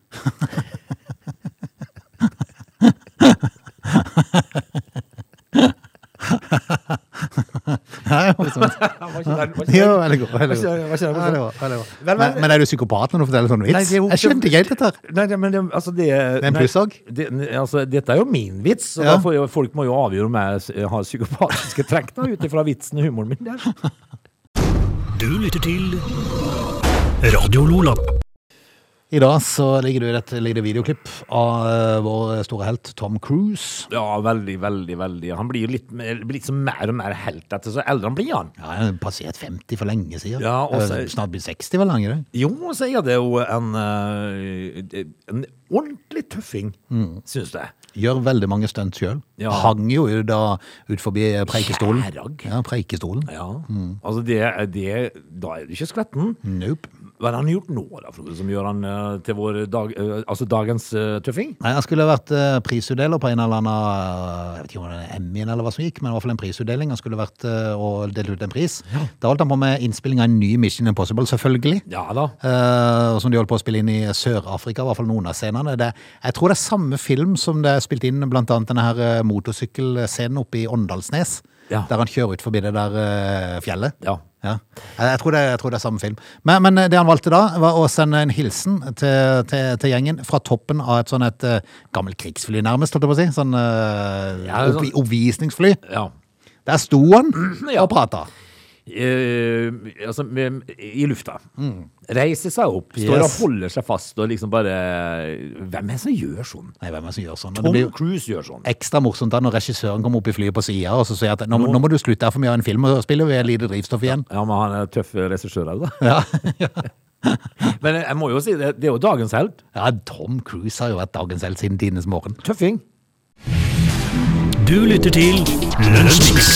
[SPEAKER 1] Nei, [laughs] det var sant. Jo, veldig god. veldig god.
[SPEAKER 3] Hva sier du?
[SPEAKER 1] Ja, det var- veldig bra.
[SPEAKER 3] Vel, vel.
[SPEAKER 1] Men, men er du psykopat når du forteller sånn
[SPEAKER 3] Nei,
[SPEAKER 1] vits?
[SPEAKER 3] det er jo-
[SPEAKER 1] Jeg skjønte ikke helt dette her.
[SPEAKER 3] Nei, nei, men det, altså det
[SPEAKER 1] er en
[SPEAKER 3] nei,
[SPEAKER 1] plussak.
[SPEAKER 3] Det, altså, dette er jo min vits, så
[SPEAKER 1] Ja.
[SPEAKER 3] da får jo, folk må jo avgjøre om jeg s- har psykopatiske trekk da, ut ifra vitsen og humoren min der.
[SPEAKER 2] Du lytter til Radio Lola.
[SPEAKER 1] I dag så ligger det et lite videoklipp av eh, vår store helt Tom Cruise.
[SPEAKER 3] Ja, veldig, veldig, veldig. Han blir jo litt, mer- blir liksom mer og mer helt etter, så eldre han blir han.
[SPEAKER 1] Ja, han har passert 50 for lenge siden.
[SPEAKER 3] Ja, og så-
[SPEAKER 1] Eh, Snart blitt 60, vel? Langer, det?
[SPEAKER 3] Jo, så er det jo en, eh, en ordentlig tøffing,
[SPEAKER 1] Mm.
[SPEAKER 3] synes jeg.
[SPEAKER 1] Gjør veldig mange stunt sjøl.
[SPEAKER 3] Ja.
[SPEAKER 1] Hang jo da ut forbi eh, Preikestolen.
[SPEAKER 3] Kjærag.
[SPEAKER 1] Ja, Mm. Preikestolen.
[SPEAKER 3] Ja, altså det, det, da er du ikke skvetten.
[SPEAKER 1] Nope.
[SPEAKER 3] Hva har han gjort nå da, Frode, som gjør han eh, til vår dag, eh, altså dagens eh, tøffing?
[SPEAKER 1] Nei, Han skulle vært eh, prisutdeler på en eller annen eh, Jeg vet ikke om det var Emmyen eller hva som gikk, men i hvert fall en prisutdeling. Han skulle vært eh, og delt ut en pris. Da holdt han på med innspilling av en ny Mission Impossible, selvfølgelig.
[SPEAKER 3] Ja da.
[SPEAKER 1] Eh, som de holdt på å spille inn i Sør-Afrika, i hvert fall noen av scenene. Det, jeg tror det er samme film som det er spilt inn blant annet denne her eh, motorsykkelscenen oppe i Åndalsnes.
[SPEAKER 3] Ja.
[SPEAKER 1] Der han kjører ut forbi det der eh, fjellet.
[SPEAKER 3] Ja.
[SPEAKER 1] Ja. Jeg, jeg, tror det, jeg tror det er samme film. Men, men det han valgte da, var å sende en hilsen til, til, til gjengen fra toppen av et sånn et eh, gammelt krigsfly, nærmest, holdt jeg på å si. Sånn eh,
[SPEAKER 3] Ja, sånn-
[SPEAKER 1] opp, oppvisningsfly.
[SPEAKER 3] ja.
[SPEAKER 1] Der sto han
[SPEAKER 3] [clears throat] Ja.
[SPEAKER 1] og prata.
[SPEAKER 3] Eh, altså, med, i lufta. Reiser seg opp, står
[SPEAKER 1] Mm. Yes.
[SPEAKER 3] og holder seg fast og liksom bare Hvem er det som gjør sånn?
[SPEAKER 1] Nei, hvem er det som gjør sånn? Og det
[SPEAKER 3] Tom
[SPEAKER 1] blir jo-
[SPEAKER 3] Cruise gjør sånn.
[SPEAKER 1] ekstra morsomt da når regissøren kommer opp i flyet på sida og så sier at nå, nå må du slutte her, for vi har en film og spiller, vi har lite drivstoff igjen.
[SPEAKER 3] Ja, men han er tøff regissør òg, da. [laughs]
[SPEAKER 1] Ja.
[SPEAKER 3] Men jeg må jo si, det, det er jo dagens helt.
[SPEAKER 1] [laughs] ja, Tom Cruise har jo vært dagens helt siden tidenes morgen.
[SPEAKER 3] Tøffing.
[SPEAKER 2] Du lytter til Lunsjmix.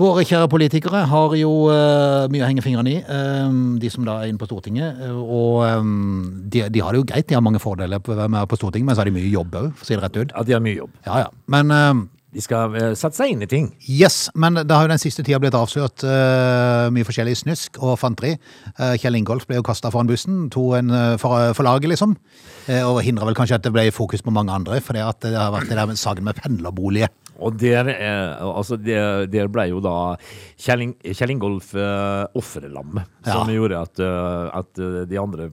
[SPEAKER 1] Våre kjære politikere har jo eh, mye å henge fingrene i, eh, de som da er inne på Stortinget. eh, og eh, de, de har det jo greit, de har mange fordeler på å være med på Stortinget, men så har de mye jobb òg, for å si det rett ut.
[SPEAKER 3] Ja, de har mye jobb.
[SPEAKER 1] Ja, ja. Men eh,
[SPEAKER 3] De skal eh, sette seg inn i ting.
[SPEAKER 1] Yes, men det har jo den siste tida blitt avslørt eh, mye forskjellig snusk og fanteri. Eh, Kjell Ingolf ble jo kasta foran bussen, to en eh, for, for laget, liksom. Eh, og hindra vel kanskje at det ble fokus på mange andre, fordi at det har vært det der med saken med pendlerboliger.
[SPEAKER 3] Og der, eh, altså der, der ble jo da Kjell Ing- Kjell Ingolf eh, offerlam, som
[SPEAKER 1] Ja.
[SPEAKER 3] gjorde at, eh, at eh, de andre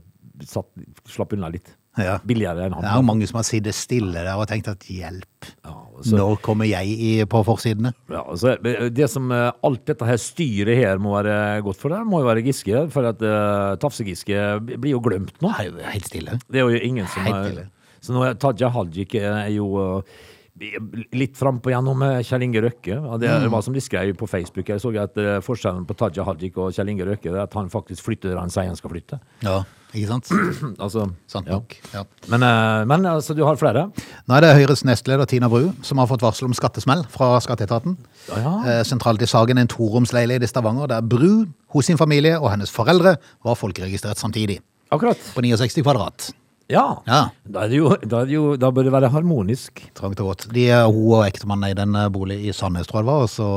[SPEAKER 3] satt, slapp unna litt.
[SPEAKER 1] Ja.
[SPEAKER 3] Billigere enn
[SPEAKER 1] Det er jo
[SPEAKER 3] han.
[SPEAKER 1] mange som har sittet stille der og tenkt at hjelp,
[SPEAKER 3] Ja, så,
[SPEAKER 1] nå kommer jeg i, på forsidene.
[SPEAKER 3] ja, så det som eh, alt dette her styret her må være godt for, det må jo være Giske. For at eh, Tafse-Giske blir jo glemt nå.
[SPEAKER 1] Nå er jo helt stille.
[SPEAKER 3] Det er jo ingen som
[SPEAKER 1] Helt
[SPEAKER 3] har
[SPEAKER 1] tydelig.
[SPEAKER 3] Så nå er Taja Hajik eh, er jo eh, litt frampå gjennom eh, Kjell Inge Røkke. Og Det
[SPEAKER 1] Mm.
[SPEAKER 3] var som de skrev på Facebook. Jeg så at eh, forskjellen på Taja Hajik og Kjell Inge Røkke er at han faktisk flytter der han sier han skal flytte. [clears throat]
[SPEAKER 1] Ja, ikke sant?
[SPEAKER 3] Altså,
[SPEAKER 1] Sant
[SPEAKER 3] ja.
[SPEAKER 1] nok. Ja.
[SPEAKER 3] Men, eh, men altså, du har flere?
[SPEAKER 1] Nå er det Høyres nestleder Tina Bru som har fått varsel om skattesmell fra skatteetaten.
[SPEAKER 3] Ja.
[SPEAKER 1] Eh, Sentralt i saken er en toromsleilighet i Stavanger der Bru, hos sin familie og hennes foreldre var folkeregistrert samtidig.
[SPEAKER 3] Akkurat.
[SPEAKER 1] På 69 kvadrat.
[SPEAKER 3] Ja.
[SPEAKER 1] Ja.
[SPEAKER 3] Da, er det jo, da, er det jo, da bør det være harmonisk.
[SPEAKER 1] Trangt og godt. De, eh, hun og ektemannen er i den eh, boligen i Sandnes, tror jeg det var, og så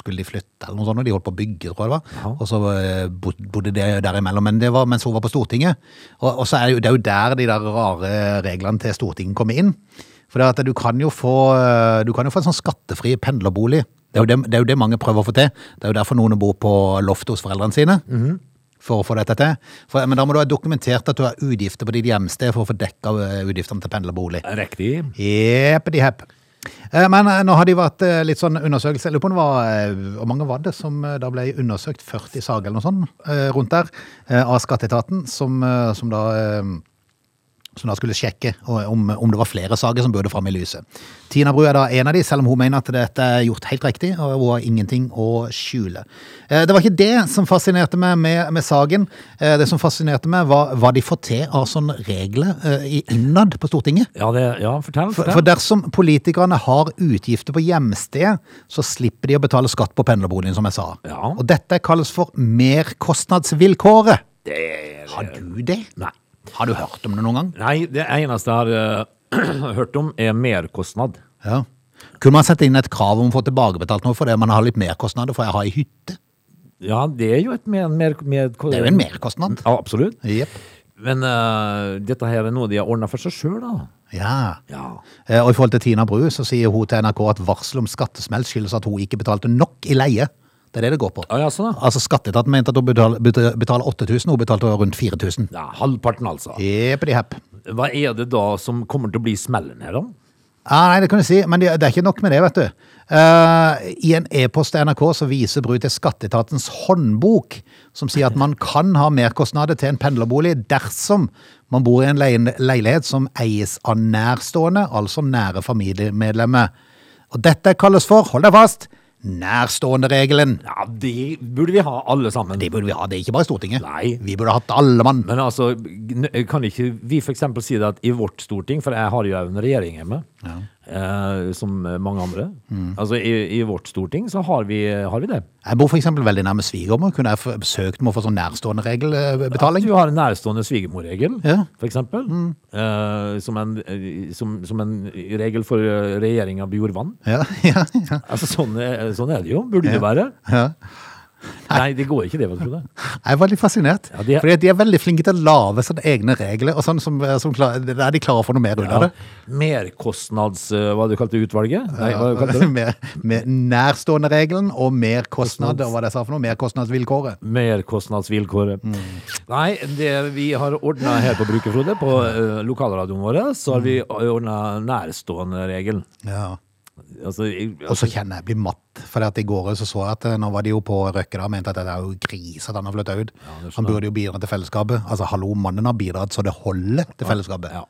[SPEAKER 1] skulle de flytte eller noe sånt, og de holdt på å bygge, tror jeg det var. Og så eh, bo- bodde de derimellom, men det var mens hun var på Stortinget. Og, og så er det, jo, det er jo der de der rare reglene til Stortinget kommer inn. For det er at du kan jo få, eh, du kan jo få en sånn skattefri pendlerbolig. Det er, jo det, det er jo det mange prøver å få til. Det er jo derfor noen bor på loftet hos foreldrene sine. For å få dette til. For, men da må du ha dokumentert at du har utgifter på ditt hjemsted for å få dekka eh, utgiftene til pendlerbolig.
[SPEAKER 3] Riktig.
[SPEAKER 1] Jepp, de hepp. Eh, Men eh, nå har de vært eh, litt sånn undersøkelse. Jeg lurer på om det var, eh, hvor mange var det som eh, da ble undersøkt? 40 saker eller noe sånt eh, rundt der eh, av skatteetaten, som, eh, som da eh, som da skulle sjekke eh, om, om det var flere saker som burde fram i lyset. Tina Bru er da en av de, selv om hun mener at dette er gjort helt riktig, og hun har ingenting å skjule. Eh, Det var ikke det som fascinerte meg med, med saken. Eh, Det som fascinerte meg, var hva de får til av sånne regler eh, i- innad på Stortinget.
[SPEAKER 3] Ja, det, ja fortell.
[SPEAKER 1] For,
[SPEAKER 3] fortell.
[SPEAKER 1] for dersom politikerne har utgifter på hjemstedet, så slipper de å betale skatt på pendlerboligen, som jeg sa.
[SPEAKER 3] Ja.
[SPEAKER 1] Og dette kalles for merkostnadsvilkåret. Har du det?
[SPEAKER 3] Nei.
[SPEAKER 1] Har du hørt om det noen gang?
[SPEAKER 3] Nei, det eneste jeg har eh, [clears throat] hørt om, er merkostnad.
[SPEAKER 1] Ja. Kunne man sette inn et krav om å få tilbakebetalt noe for det man har litt merkostnader for jeg har ei hytte?
[SPEAKER 3] Ja, det er jo et mer, mer, mer
[SPEAKER 1] Det er jo en merkostnad.
[SPEAKER 3] Ja, absolutt.
[SPEAKER 1] Jepp.
[SPEAKER 3] Men eh, dette her er noe de har ordna for seg sjøl, da.
[SPEAKER 1] Ja.
[SPEAKER 3] Ja.
[SPEAKER 1] Eh, Og i forhold til Tina Bru, så sier hun til NRK at varsel om skattesmell skyldes at hun ikke betalte nok i leie. Det er det det går på.
[SPEAKER 3] Ah, ja, sånn, da.
[SPEAKER 1] Altså, skatteetaten mente at hun betal- bet- betaler 8000, hun betalte rundt 4000.
[SPEAKER 3] ja. Halvparten, altså.
[SPEAKER 1] Jeppity hepp.
[SPEAKER 3] Hva er det da som kommer til å bli smellen her, da?
[SPEAKER 1] Ja, Ah, nei, det kan du si, men det, det er ikke nok med det, vet du. Eh, I en e-post til NRK så viser Bru til Skatteetatens håndbok, som sier at man kan ha merkostnader til en pendlerbolig dersom man bor i en leie- leilighet som eies av nærstående, altså nære familiemedlemmer. Og dette kalles for, hold deg fast, nærstående-regelen.
[SPEAKER 3] Ja, Det burde vi ha, alle sammen.
[SPEAKER 1] Det burde vi ha, det er ikke bare Stortinget.
[SPEAKER 3] Nei.
[SPEAKER 1] Vi burde hatt alle mann.
[SPEAKER 3] Men altså, gn- kan ikke vi f.eks. si det at i vårt storting, for jeg har jo en regjering hjemme, eh, som mange andre Altså, i, i vårt storting så har vi, har vi det.
[SPEAKER 1] Jeg bor for eksempel veldig nærme svigermor. Kunne jeg få- søkt om å få sånn nærstående-regelbetaling?
[SPEAKER 3] At du har en nærstående svigermorregel,
[SPEAKER 1] Ja.
[SPEAKER 3] for eksempel. eh, som, en, eh, som, som en regel for eh, regjering av Bjorvann.
[SPEAKER 1] Ja, [laughs] ja, ja.
[SPEAKER 3] Altså, sånn, er- sånn er det jo. Burde det være.
[SPEAKER 1] ja.
[SPEAKER 3] Nei, det går ikke det, vet du det.
[SPEAKER 1] [laughs] Jeg er veldig fascinert.
[SPEAKER 3] Ja, de er-
[SPEAKER 1] Fordi at de er veldig flinke til å lage sine egne regler, og sånn som, som klar, der de klarer å få noe mer ut av
[SPEAKER 3] Ja.
[SPEAKER 1] det.
[SPEAKER 3] Merkostnads... eh, Hva du kalte utvalget? Nei, hva du kalte
[SPEAKER 1] [laughs]
[SPEAKER 3] det?
[SPEAKER 1] med, med nærstående-regelen og merkostnad, og hva det sa for noe, merkostnadsvilkåret.
[SPEAKER 3] Merkostnadsvilkåret.
[SPEAKER 1] Mm.
[SPEAKER 3] Nei, det vi har ordna her på Brukerfrode, på eh, lokalradioen vår, så har vi
[SPEAKER 1] Mm.
[SPEAKER 3] ordna nærstående-regelen.
[SPEAKER 1] Ja.
[SPEAKER 3] Altså, i-
[SPEAKER 1] Og så kjenner jeg jeg blir matt, for at i går så så jeg at eh, nå var de jo på Røkke da, og mente at det er jo gris at han har flyttet ut. han burde jo bidra til fellesskapet. Altså, hallo, mannen har bidratt så det holder til fellesskapet.
[SPEAKER 3] ja,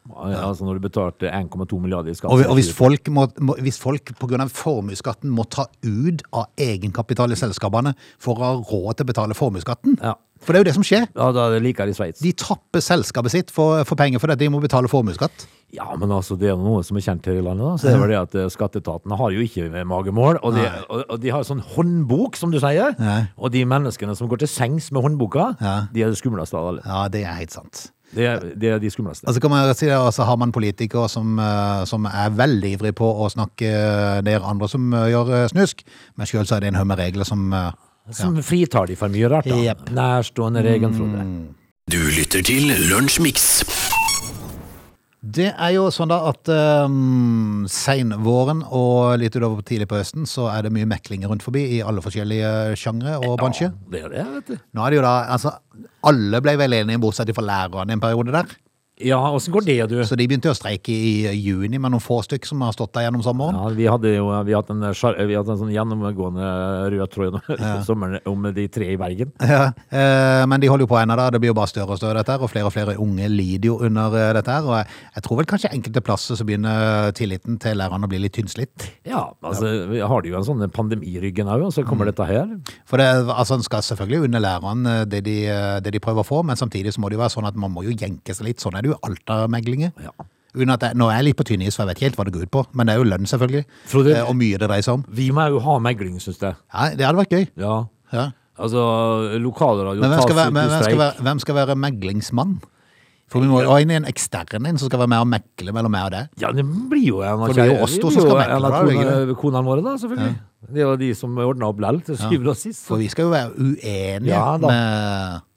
[SPEAKER 3] altså når du betalte 1,2 milliarder i skatt
[SPEAKER 1] Og, vi- og hvis folk, må, må, hvis folk på grunn av formuesskatten må ta ut av egenkapital i selskapene for å ha råd til å betale formuesskatten,
[SPEAKER 3] Ja.
[SPEAKER 1] for det er jo det som skjer.
[SPEAKER 3] Ja, da er det likere i Sveits.
[SPEAKER 1] De tapper selskapet sitt for, for penger for det, de må betale formuesskatt.
[SPEAKER 3] Ja, men altså, det er jo noe som er kjent her i landet, da. Så det er vel det at eh, skatteetaten har jo ikke magemål. Og de, og, og de har sånn håndbok, som du sier.
[SPEAKER 1] Nei.
[SPEAKER 3] Og de menneskene som går til sengs med håndboka,
[SPEAKER 1] Ja.
[SPEAKER 3] de er det skumleste av alle.
[SPEAKER 1] Ja, det er helt sant.
[SPEAKER 3] Det er, det er de skumleste.
[SPEAKER 1] Altså kan man si det, altså Har man politikere som, eh, som er veldig ivrige på å snakke ned andre som eh, gjør eh, snusk, men sjøl er det en haug med regler som eh,
[SPEAKER 3] Som fritar de for mye rart, da.
[SPEAKER 1] Jepp.
[SPEAKER 3] Nærstående regelen, Frode.
[SPEAKER 1] Mm.
[SPEAKER 2] Du lytter til Lunsjmix.
[SPEAKER 1] Det er jo sånn da at um, seinvåren og litt utover tidlig på høsten så er det mye mekling rundt forbi i alle forskjellige sjangre og bransjer.
[SPEAKER 3] Det er det, vet du.
[SPEAKER 1] Nå er det jo da, altså Alle ble vel enige bortsett fra lærerne en periode der.
[SPEAKER 3] Ja, åssen går det, du?
[SPEAKER 1] Så de begynte jo å streike i juni med noen få stykk som har stått der gjennom sommeren.
[SPEAKER 3] Ja, vi hadde jo vi hadde en, sjar- vi hadde en sånn gjennomgående rød tråd gjennom [laughs] sommeren om de tre i Bergen.
[SPEAKER 1] Ja, [laughs] eh, men de holder jo på ennå, da. Det blir jo bare større og større, dette her. Og flere og flere unge lider jo under eh, dette her. Og jeg, jeg tror vel kanskje enkelte plasser så begynner tilliten til lærerne å bli litt tynnslitt.
[SPEAKER 3] Ja, altså vi har de jo en sånn pandemi i ryggen òg, og så kommer
[SPEAKER 1] Mm.
[SPEAKER 3] dette her.
[SPEAKER 1] For det, altså, en skal selvfølgelig unne lærerne eh, det de, eh, det de prøver å få, men samtidig så må det jo være sånn at man må jo jenke seg litt. Sånn er det jo i Alta-meglinger.
[SPEAKER 3] Ja.
[SPEAKER 1] Uten at jeg, nå er jeg litt på tynn is, for jeg vet ikke helt hva det går ut på. Men det er jo lønn, selvfølgelig.
[SPEAKER 3] Frode-
[SPEAKER 1] eh, Og mye det dreier seg om.
[SPEAKER 3] Vi må jo ha megling, syns jeg.
[SPEAKER 1] Ja, det hadde vært gøy.
[SPEAKER 3] Ja.
[SPEAKER 1] Ja.
[SPEAKER 3] Altså, lokalradio
[SPEAKER 1] Men hvem
[SPEAKER 3] tas
[SPEAKER 1] skal,
[SPEAKER 3] ut i
[SPEAKER 1] være, men hvem, skal
[SPEAKER 3] streik.
[SPEAKER 1] være, hvem skal være meglingsmann? For vi må jo ha inn en ekstern en som skal være med og mekle mellom meg og deg.
[SPEAKER 3] Ja, det blir jo en av
[SPEAKER 1] For det er jo
[SPEAKER 3] kjære-
[SPEAKER 1] oss to
[SPEAKER 3] blir
[SPEAKER 1] som
[SPEAKER 3] jo
[SPEAKER 1] skal mekle,
[SPEAKER 3] en av
[SPEAKER 1] da, er det ikke
[SPEAKER 3] kona- konene våre, da, selvfølgelig. Det er jo de som ordna opp lell til syvende og sist.
[SPEAKER 1] For vi skal jo være uenige
[SPEAKER 3] Ja, da.
[SPEAKER 1] med,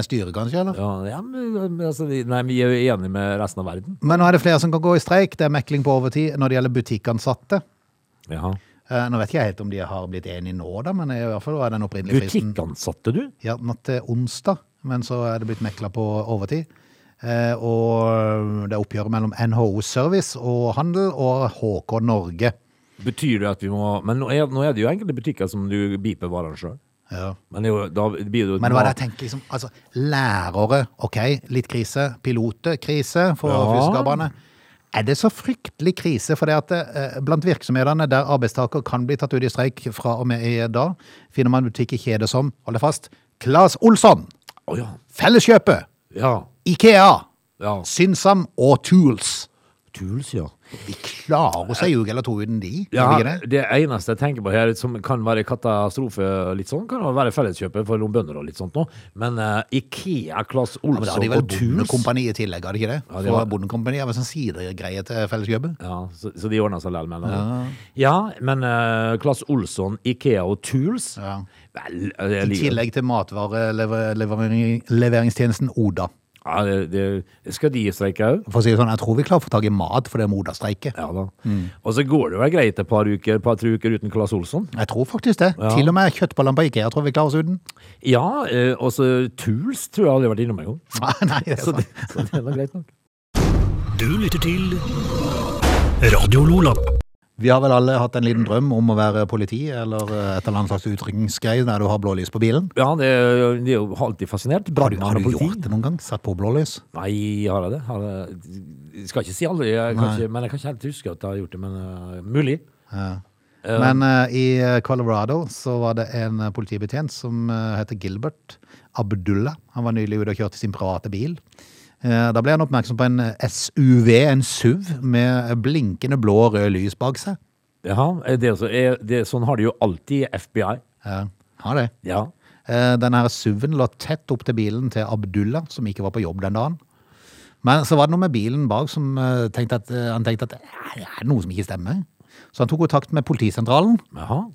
[SPEAKER 1] med styret, kanskje? eller?
[SPEAKER 3] Ja, ja, men, men altså, de- nei, vi er jo enige med resten av verden.
[SPEAKER 1] Men nå er det flere som kan gå i streik. Det er mekling på overtid når det gjelder butikkansatte.
[SPEAKER 3] Ja.
[SPEAKER 1] Eh, Nå vet ikke jeg helt om de har blitt enige nå, da, men i hvert fall var den opprinnelige fristen
[SPEAKER 3] Butikkansatte, du?
[SPEAKER 1] ja, natt til onsdag. Men så er det blitt mekla på overtid. Eh, Og det er oppgjøret mellom NHO Service og Handel og HK Norge.
[SPEAKER 3] Betyr det at vi må Men nå er, nå er det jo enkelte butikker som du biper varene sjøl.
[SPEAKER 1] Ja.
[SPEAKER 3] Men det er jo, da blir det jo et
[SPEAKER 1] Men hva er det jeg
[SPEAKER 3] mat-
[SPEAKER 1] tenker, liksom, altså, lærere, ok, litt krise, piloter, krise for
[SPEAKER 3] Ja.
[SPEAKER 1] fyrskaperne. Er det så fryktelig krise? For det at eh, blant virksomhetene der arbeidstaker kan bli tatt ut i streik fra og med i dag, finner man butikk i kjede som, hold deg fast, Claes Olsson,
[SPEAKER 3] Å ja.
[SPEAKER 1] Felleskjøpet,
[SPEAKER 3] Ja.
[SPEAKER 1] Ikea,
[SPEAKER 3] ja.
[SPEAKER 1] Synsam og Tools.
[SPEAKER 3] Tuls, ja.
[SPEAKER 1] De klarer seg jo ikke eller to uten de. gjør
[SPEAKER 3] ja.
[SPEAKER 1] de ikke det?
[SPEAKER 3] Det eneste jeg tenker på her, som kan være katastrofe, litt sånn, kan jo være Felleskjøpet for noen bønder og litt sånt nå. Men eh, Ikea, Claes
[SPEAKER 1] Men da
[SPEAKER 3] Olsson
[SPEAKER 1] hadde de vel
[SPEAKER 3] og Tuls
[SPEAKER 1] bondekompani i tillegg, hadde de ikke det?
[SPEAKER 3] Ja, de
[SPEAKER 1] For
[SPEAKER 3] var-
[SPEAKER 1] bondekompani er vel sånn sidegreie til felleskjøpet?
[SPEAKER 3] Ja, så, så de ordna seg likevel mellom ja. ja, men eh, Claes Olsson, Ikea og Tools
[SPEAKER 1] Ja.
[SPEAKER 3] Vel, eh,
[SPEAKER 1] I
[SPEAKER 3] jeg liker
[SPEAKER 1] tillegg til matvareleveringstjenesten Oda.
[SPEAKER 3] ja, det, det, Skal de streike òg?
[SPEAKER 1] For å si det sånn, Jeg tror vi klarer å få tak i mat for det med Oda-streiket.
[SPEAKER 3] Ja da.
[SPEAKER 1] Mm.
[SPEAKER 3] Og så går det vel greit et par uker, par tre uker uten Claes Olsson.
[SPEAKER 1] Jeg tror faktisk det.
[SPEAKER 3] Ja.
[SPEAKER 1] Til og med kjøttballene på Ikea tror vi klarer oss [laughs] uten.
[SPEAKER 3] Ja, eh, og så Tools tror jeg aldri har vært innom engang.
[SPEAKER 1] Nei, det er
[SPEAKER 3] Så,
[SPEAKER 1] sant.
[SPEAKER 3] det- så det er da greit nok.
[SPEAKER 2] Du lytter til Radio Lola.
[SPEAKER 1] Vi har vel alle hatt en liten drøm om å være politi eller eh, et eller annet slags utrykningsgreie der du har blålys på bilen.
[SPEAKER 3] Ja, det, det er jo alltid fascinert.
[SPEAKER 1] Har du,
[SPEAKER 3] Brannmann
[SPEAKER 1] har
[SPEAKER 3] og
[SPEAKER 1] du
[SPEAKER 3] politi.
[SPEAKER 1] gjort det noen gang? Satt på blålys?
[SPEAKER 3] Nei, har jeg det? Har jeg, jeg skal ikke si aldri, jeg kan ikke, men jeg kan ikke helt huske at jeg har gjort det. Men eh, mulig.
[SPEAKER 1] Men eh, i eh, Colorado så var det en eh, politibetjent som eh, heter Gilbert Abdullah. Han var nylig ute og kjørte sin private bil. Eh, da ble han oppmerksom på en eh, SUV, en SUV, med eh, blinkende blå og rød lys bak seg.
[SPEAKER 3] Jaha, er det, også- er det, sånn har de jo alltid i FBI.
[SPEAKER 1] Ja, har det.
[SPEAKER 3] Ja.
[SPEAKER 1] Eh, denne her SUV-en lå tett opp til bilen til Abdullah, som ikke var på jobb den dagen. Men så var det noe med bilen bak som eh, tenkte at, eh, han tenkte at "Eh, det er noe som ikke stemmer. Så han tok kontakt med politisentralen.
[SPEAKER 3] Jaha.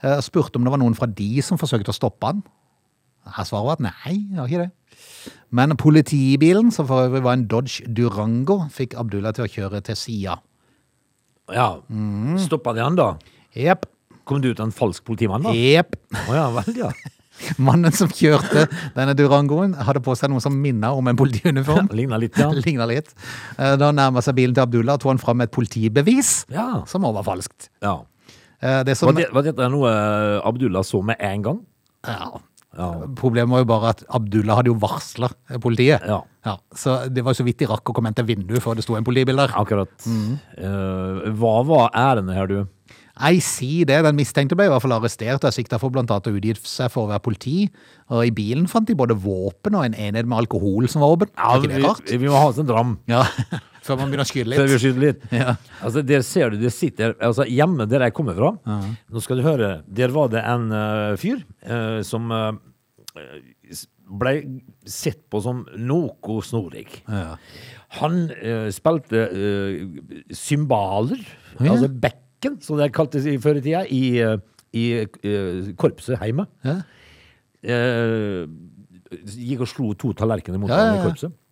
[SPEAKER 1] Jeg spurte om det var noen fra de som forsøkte å stoppe han. Jeg svarer at nei, det var ikke det. Men politibilen, som for øvrig var en Dodge Durango, fikk Abdullah til å kjøre til sida.
[SPEAKER 3] Ja. Stoppa de han, da?
[SPEAKER 1] Jepp.
[SPEAKER 3] Kom det ut en falsk politimann, da? Å
[SPEAKER 1] Jepp.
[SPEAKER 3] ja vel, ja.
[SPEAKER 1] [laughs] Mannen som kjørte denne Durangoen, hadde på seg noe som minnet om en politiuniform.
[SPEAKER 3] Ligna litt, [laughs] ja.
[SPEAKER 1] Lignet litt. Eh, Da nærma seg bilen til Abdullah og tok han fram et politibevis,
[SPEAKER 3] Ja.
[SPEAKER 1] som også var falskt.
[SPEAKER 3] ja.
[SPEAKER 1] Eh, Det
[SPEAKER 3] Var,
[SPEAKER 1] som,
[SPEAKER 3] det, var dette noe eh, Abdullah så med en gang?
[SPEAKER 1] ja,
[SPEAKER 3] Ja.
[SPEAKER 1] Problemet var jo bare at Abdullah hadde jo varsla politiet.
[SPEAKER 3] Ja.
[SPEAKER 1] så det var jo så vidt de rakk å komme inn til vinduet før det sto en politibil der.
[SPEAKER 3] Akkurat. Eh, hva var ærendet her, du?
[SPEAKER 1] Nei, si det. Den mistenkte ble i hvert fall arrestert og er sikta for blant annet å utgi seg for å være politi. Og i bilen fant de både våpen og en enhet med alkohol som var åpen. Er ikke det rart?
[SPEAKER 3] vi, vi må ha oss en dram.
[SPEAKER 1] Ja, [laughs] Før man begynner å skyte
[SPEAKER 3] Før vi
[SPEAKER 1] litt.
[SPEAKER 3] skyter litt. Altså, der ser du, det sitter altså, Hjemme der jeg kommer fra, nå skal du høre, der var det en eh, fyr eh, som eh, eh, s- ble sett på som noe snorig. Han eh, spilte eh, cymbaler,
[SPEAKER 1] ja.
[SPEAKER 3] altså bekken, som det kaltes i før i tida, i, eh, i eh, korpset hjemme.
[SPEAKER 1] Ja.
[SPEAKER 3] Eh, gikk og slo to tallerkener mot
[SPEAKER 1] Ja, ja,
[SPEAKER 3] hverandre
[SPEAKER 1] ja.
[SPEAKER 3] i korpset.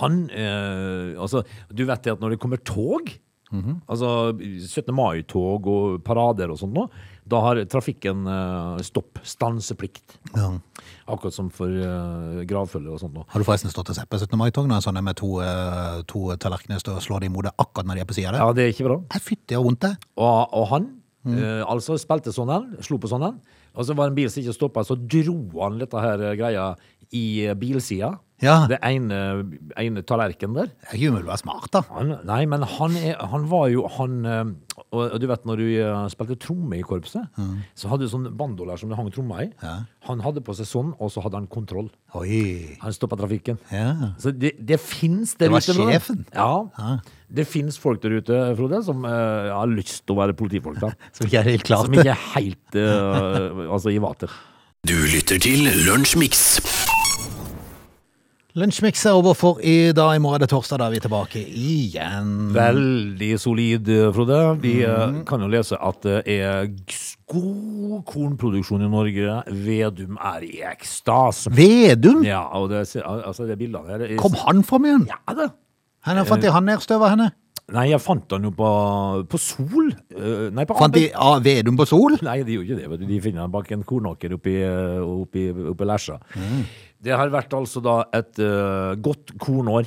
[SPEAKER 3] Han eh, Altså, du vet det at når det kommer tog,
[SPEAKER 1] Mhm.
[SPEAKER 3] altså 17. mai-tog og parader og sånt nå, da har trafikken eh, stopp, stanseplikt.
[SPEAKER 1] Ja.
[SPEAKER 3] Akkurat som for eh, gravfølge og sånt nå.
[SPEAKER 1] Har du forresten stått og sett på 17. mai-tog når en sånn er med to, eh, to tallerkener står og slår dem i hodet akkurat når de er på sida der?
[SPEAKER 3] Ja, det er ikke bra.
[SPEAKER 1] Nei, Fytti og vondt, det.
[SPEAKER 3] Og, og han eh, altså spilte sånn han, slo på sånn han, og så var det en bil som ikke stoppa, så dro han dette her eh, greia i eh, bilsida.
[SPEAKER 1] Ja.
[SPEAKER 3] Det ene, ene tallerkenen der.
[SPEAKER 1] Det er ikke umulig å være smart, da.
[SPEAKER 3] Han, nei, men han, er, han var jo han eh, og, og du vet når du eh, spilte tromme i korpset, så hadde du sånn bandoler som det hang tromma i. Han hadde på seg sånn, og så hadde han kontroll.
[SPEAKER 1] Oi.
[SPEAKER 3] Han stoppa trafikken.
[SPEAKER 1] Ja.
[SPEAKER 3] Så det, det fins der
[SPEAKER 1] Det var
[SPEAKER 3] ute. Frode.
[SPEAKER 1] sjefen. Ah.
[SPEAKER 3] Ja. Det fins folk der ute, Frode, som eh, har lyst til å være politifolk. da.
[SPEAKER 1] Som ikke er helt klart
[SPEAKER 3] Som ikke er helt eh, altså i vater.
[SPEAKER 2] Du lytter til Lunsjmix.
[SPEAKER 1] Lunsjmix er over for i dag. I morgen er det torsdag, da er vi tilbake igjen.
[SPEAKER 3] Veldig solid, eh, Frode. Vi eh,
[SPEAKER 1] Mhm.
[SPEAKER 3] kan jo lese at det er g- god kornproduksjon i Norge. Vedum er i ekstase.
[SPEAKER 1] Vedum!
[SPEAKER 3] Ja, og det, ser- al- altså det bildene her er-
[SPEAKER 1] Kom han fram igjen?
[SPEAKER 3] Ja, da.
[SPEAKER 1] Henne, fant de han nedstøva henne?
[SPEAKER 3] Nei, jeg fant han jo på, på Sol. Eh, nei, på
[SPEAKER 1] Fant
[SPEAKER 3] Ape.
[SPEAKER 1] de ah, Vedum på Sol?
[SPEAKER 3] Nei, de gjorde ikke det. vet du. De finner den bak en kornåker oppi, eh, oppi, oppi Lesja.
[SPEAKER 1] Mm.
[SPEAKER 3] Det har vært altså da et eh, godt kornår.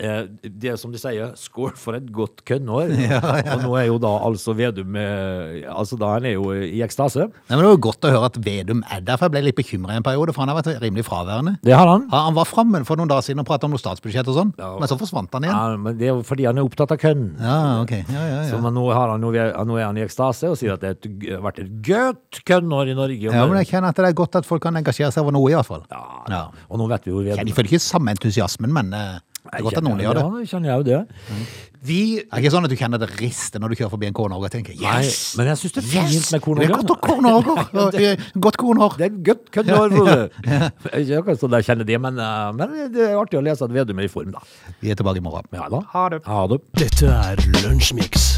[SPEAKER 3] Eh, det er som de sier, skål for et godt kønnår.
[SPEAKER 1] [laughs]
[SPEAKER 3] Og nå er jo da altså Vedum eh, Altså da han er jo i ekstase.
[SPEAKER 1] Nei, men Det var jo godt å høre at Vedum er der, for jeg ble litt bekymra en periode, for han har vært rimelig fraværende.
[SPEAKER 3] Det har han.
[SPEAKER 1] Han han var framme for noen dager siden og prata om noe statsbudsjett og sånn,
[SPEAKER 3] Ja.
[SPEAKER 1] men så forsvant han igjen.
[SPEAKER 3] Ja, men det er jo fordi han er opptatt av kønn.
[SPEAKER 1] Ja, ok. Ja, ja,
[SPEAKER 3] Så
[SPEAKER 1] ja.
[SPEAKER 3] men nå, har han, jo- nå er han i ekstase og sier at det er et, g- har vært et godt kønnår i Norge.
[SPEAKER 1] ja, men jeg kjenner at det er godt at folk kan engasjere seg over noe, i hvert fall.
[SPEAKER 3] Ja,
[SPEAKER 1] Ja.
[SPEAKER 3] Og nå vet vi jo
[SPEAKER 1] Ja,
[SPEAKER 3] Vedum
[SPEAKER 1] de føler ikke samme entusiasmen, men eh, det er godt at noen gjør det.
[SPEAKER 3] Ja, kjenner jeg jo det. Vi
[SPEAKER 1] Det er ikke sånn at du kjenner det rister når du kjører forbi en kornhogger og tenker
[SPEAKER 3] Nei,
[SPEAKER 1] yes!
[SPEAKER 3] men jeg syns det er fint
[SPEAKER 1] Yes! Det
[SPEAKER 3] med
[SPEAKER 1] er
[SPEAKER 3] kornhogger.
[SPEAKER 1] godt å
[SPEAKER 3] [laughs]
[SPEAKER 1] kornhogger! Eh, Godt kornhår.
[SPEAKER 3] Det er godt køddår, Frode. Ikke akkurat sånn jeg kjenner det, men, eh, men det er artig å lese at Vedum er i form, da.
[SPEAKER 1] Vi er tilbake i morgen.
[SPEAKER 3] Ja da.
[SPEAKER 1] Ha det.
[SPEAKER 3] Ha det.
[SPEAKER 2] Dette er Lunsjmix.